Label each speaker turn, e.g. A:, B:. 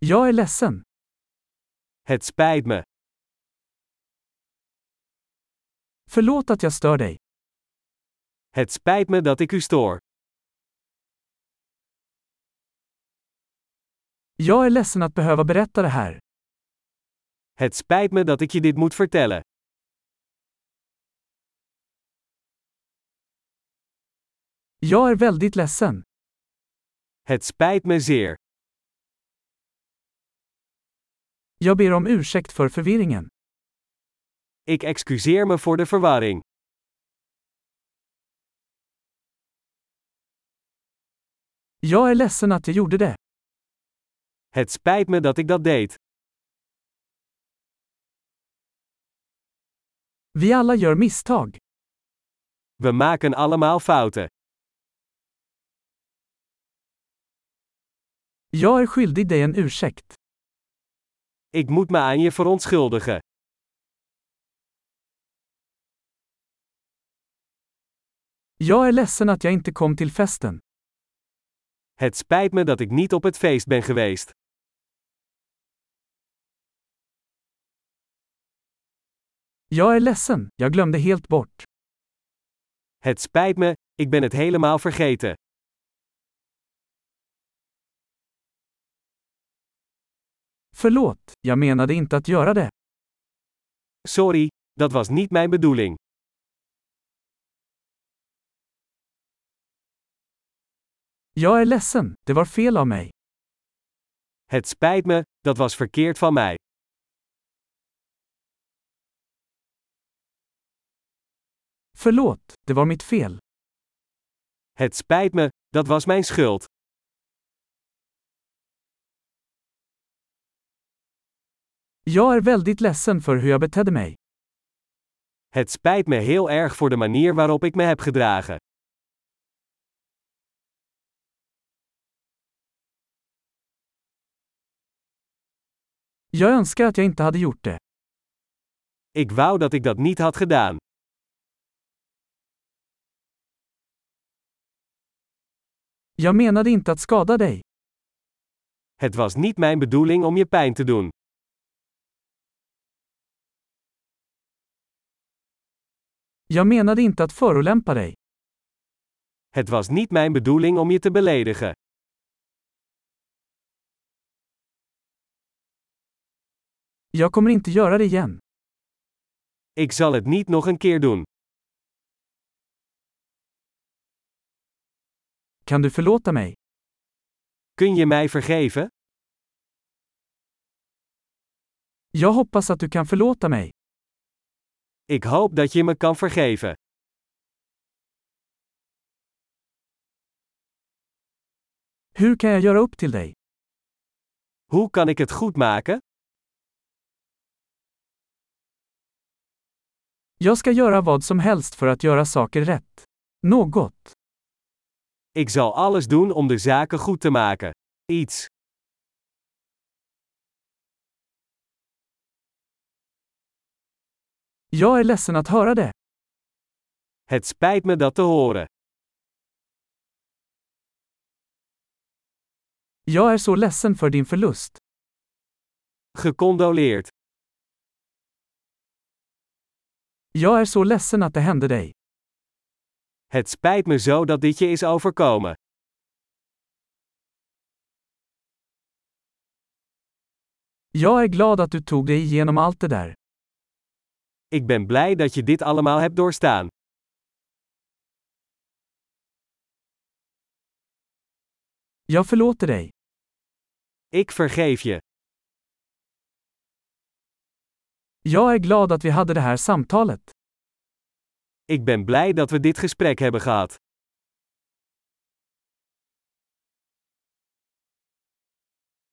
A: Jag är ledsen.
B: Het spijt me.
A: Förlåt att jag stör dig.
B: Het spijt me dat ik u stoor.
A: Jag är ledsen att behöva berätta det här.
B: Het spijt me dat ik je dit moet vertellen.
A: Jag är väldigt ledsen.
B: Het spijt me zeer.
A: Jag ber om ursäkt för förvirringen.
B: Ik excuseer me voor de verwarring.
A: Jag är ledsen att jag gjorde det.
B: Het spijt me dat ik dat deed.
A: Vi alla gör misstag.
B: We maken allemaal fouten.
A: Jag är skyldig dig en ursäkt.
B: Ik moet me aan je verontschuldigen.
A: Jag är ledsen att jag inte kom till festen.
B: Het spijt me dat ik niet op het feest ben geweest.
A: Jag är ledsen, jag glömde helt bort.
B: Het spijt me, ik ben het helemaal vergeten.
A: Förlåt, jag menade inte att göra det.
B: Sorry, dat was niet mijn bedoeling.
A: Jag är ledsen, det var fel av mig.
B: Het spijt me, dat was verkeerd van mij.
A: Förlåt, det var mitt fel.
B: Het spijt me, dat was mijn schuld.
A: Jag är väldigt ledsen för hur jag betedde mig.
B: Het spijt me heel erg voor de manier waarop ik me heb gedragen.
A: Jag önskar att jag inte hade gjort det.
B: Ik wou dat ik dat niet had gedaan.
A: Jag menade inte att skada dig.
B: Het was niet mijn bedoeling om je pijn te doen.
A: Jag menade inte att förolämpa dig.
B: Het was niet mijn bedoeling om je te beledigen.
A: Jag kommer inte göra det igen.
B: Ik zal het niet nog een keer doen.
A: Kan du förlåta mig?
B: Kun je mij vergeven?
A: Jag hoppas att du kan förlåta mig.
B: Ik hoop dat je me kan vergeven.
A: Hur kan jag göra upp till dig?
B: Hoe kan ik het goed maken?
A: Jag ska göra vad som helst för att göra saker rätt. Något.
B: Ik zal alles doen om de zaken goed te maken. Iets.
A: Jag är ledsen att höra det.
B: Het spijt me dat te horen.
A: Jag är så ledsen för din förlust.
B: Gecondoleerd.
A: Jag är så ledsen att det hände dig.
B: Het spijt me zo dat dit je is overkomen.
A: Jag är glad att du tog dig igenom allt det där.
B: Ik ben blij dat je dit allemaal hebt doorstaan.
A: Jag förlåter dig.
B: Ik vergeef je.
A: Jag är glad att vi hade det här samtalet.
B: Ik ben blij dat we dit gesprek hebben gehad.